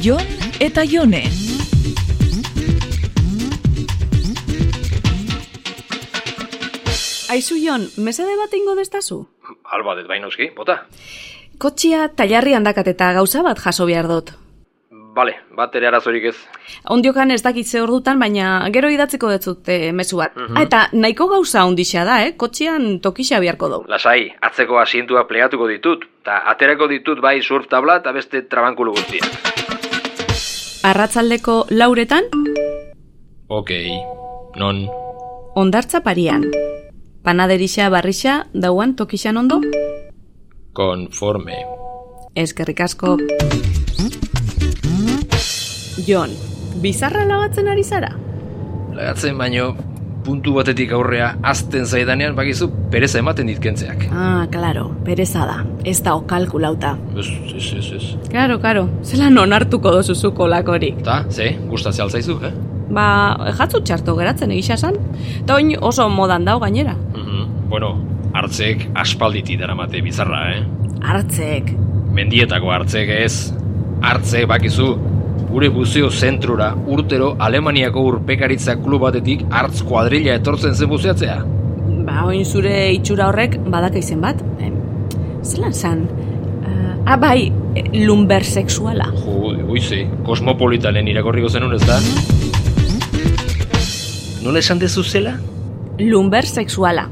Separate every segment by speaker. Speaker 1: Jon eta Jone.
Speaker 2: Aizu Jon, mesede bat ingo destazu?
Speaker 3: Alba dut baino eski, bai bota.
Speaker 2: Kotxia tailarri handakat eta gauza bat jaso behar dut.
Speaker 3: Bale, bat ere arazorik ez.
Speaker 2: Ondiokan ez dakit ze ordutan, baina gero idatziko dut e, mezu bat. Ah, eta nahiko gauza ondixa da, eh? Kotxean tokixa beharko dugu.
Speaker 3: Lasai, atzeko asientua plegatuko ditut, eta aterako ditut bai surf tabla eta beste trabankulu guztia.
Speaker 2: Arratzaldeko lauretan,
Speaker 3: Ok, non?
Speaker 2: ondartza parian. Panaderixa barrixa, dauan tokixan ondo,
Speaker 3: Konforme.
Speaker 2: eskerrik asko. Jon, bizarra lagatzen ari zara?
Speaker 3: Lagatzen baino, puntu batetik aurrea azten zaidanean bakizu pereza ematen ditkentzeak.
Speaker 2: Ah, klaro, pereza da, ez da okalkulauta.
Speaker 3: Ez, ez, ez, ez.
Speaker 2: Claro, claro, zelan onartuko dozuzuko lakorik.
Speaker 3: Ta, ze, gustatze altzaizu, eh?
Speaker 2: Ba, jatzu txarto geratzen egisa esan. Eta oin oso modan dau gainera.
Speaker 3: Mhm, Bueno, hartzek aspalditi daramate bizarra, eh?
Speaker 2: Hartzeek.
Speaker 3: Mendietako hartzek ez. Hartze bakizu, gure buzeo zentrura urtero Alemaniako urpekaritza klub batetik hartz kuadrilla etortzen zen buzeatzea.
Speaker 2: Ba, oin zure itxura horrek badaka izen bat. Em, zelan zan? Eh, ah, bai, eh, lumber sexuala.
Speaker 3: Jo, uize, kosmopolitanen irakorriko zenun ez da? Nola esan dezu zela?
Speaker 2: Lumber sexuala.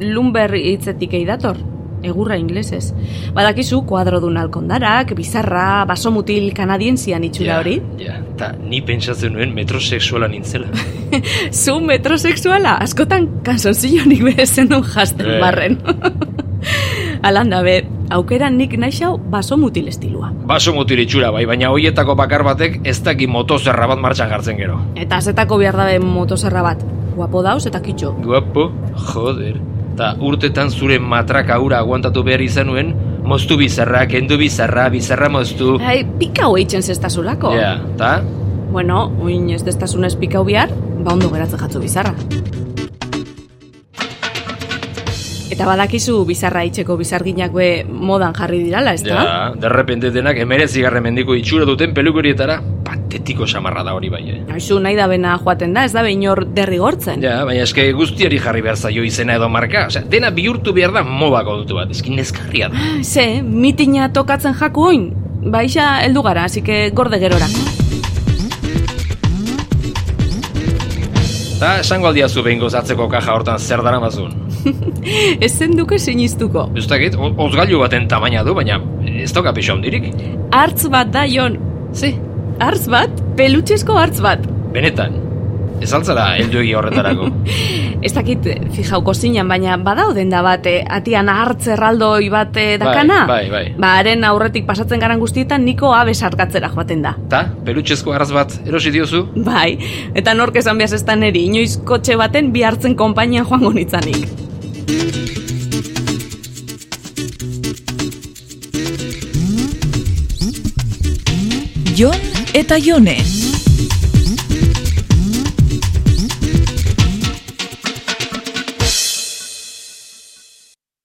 Speaker 2: Lumber hitzetik eidator. Egurra inglesez. Badakizu kuadrodun alkondarak, bizarra, basomutil kanadienzian itxura hori.
Speaker 3: Ja, ta ni pentsatzen nuen metrosexuala nintzela.
Speaker 2: Zu metrosexuala, askotan kansonzionik bere zenun jasten
Speaker 3: Eh.
Speaker 2: barren. Alanda be, aukeran nik naixau baso mutil estilua.
Speaker 3: Baso mutiritxura bai, baina hoietako bakar batek ez daki motozerra bat martxan jartzen gero.
Speaker 2: Eta azetako behar dabe motozerra bat. Guapo dauz eta kitxo.
Speaker 3: Guapo, joder. Ta urtetan zure matraka hura aguantatu behar izan nuen, moztu bizarra, kendu bizarra, bizarra moztu.
Speaker 2: Ai, pikau eitzen zestazulako.
Speaker 3: Ja, ta?
Speaker 2: Bueno, uin ez destazunez pikau bihar, ba ondo geratzen jatzu bizarra. Eta badakizu bizarra itxeko bizarginak be modan jarri dirala, ez da?
Speaker 3: Ja, derrepente denak emerez mendiko itxura duten pelukorietara. Patetiko samarra da hori bai, eh?
Speaker 2: Aizu nahi da bena joaten da, ez da inor derrigortzen.
Speaker 3: Ja, baina eske guztiari jarri behar zaio izena edo marka. Osea, dena bihurtu behar da moba kontu bat. Eskin ezkarria da.
Speaker 2: Ze, mitina tokatzen jaku oin. Baixa heldu gara, así que gorde gerora.
Speaker 3: Ta, esango aldiazu behin gozatzeko kaja hortan zer dara mazun.
Speaker 2: Ez zen duke sinistuko.
Speaker 3: Ez dakit, o- ozgailu baten tamaina du, baina ez doka pixo handirik.
Speaker 2: Artz bat da, Jon.
Speaker 3: Ze,
Speaker 2: Artz bat, pelutxesko artz bat.
Speaker 3: benetan. Ez altzara helduegi horretarako.
Speaker 2: Ez dakit, eh, fijauko zinan, baina badauden da bat, eh, atian hartz erraldoi bat eh,
Speaker 3: Bai,
Speaker 2: dakana?
Speaker 3: bai, bai.
Speaker 2: Ba, haren aurretik pasatzen garan guztietan niko abes harkatzera joaten da.
Speaker 3: Ta, pelutxezko arraz bat, erosi diozu?
Speaker 2: Bai, eta nork esan behaz ez da neri, inoiz kotxe baten bi hartzen konpainian joango nitzanik.
Speaker 1: Jon eta Jone.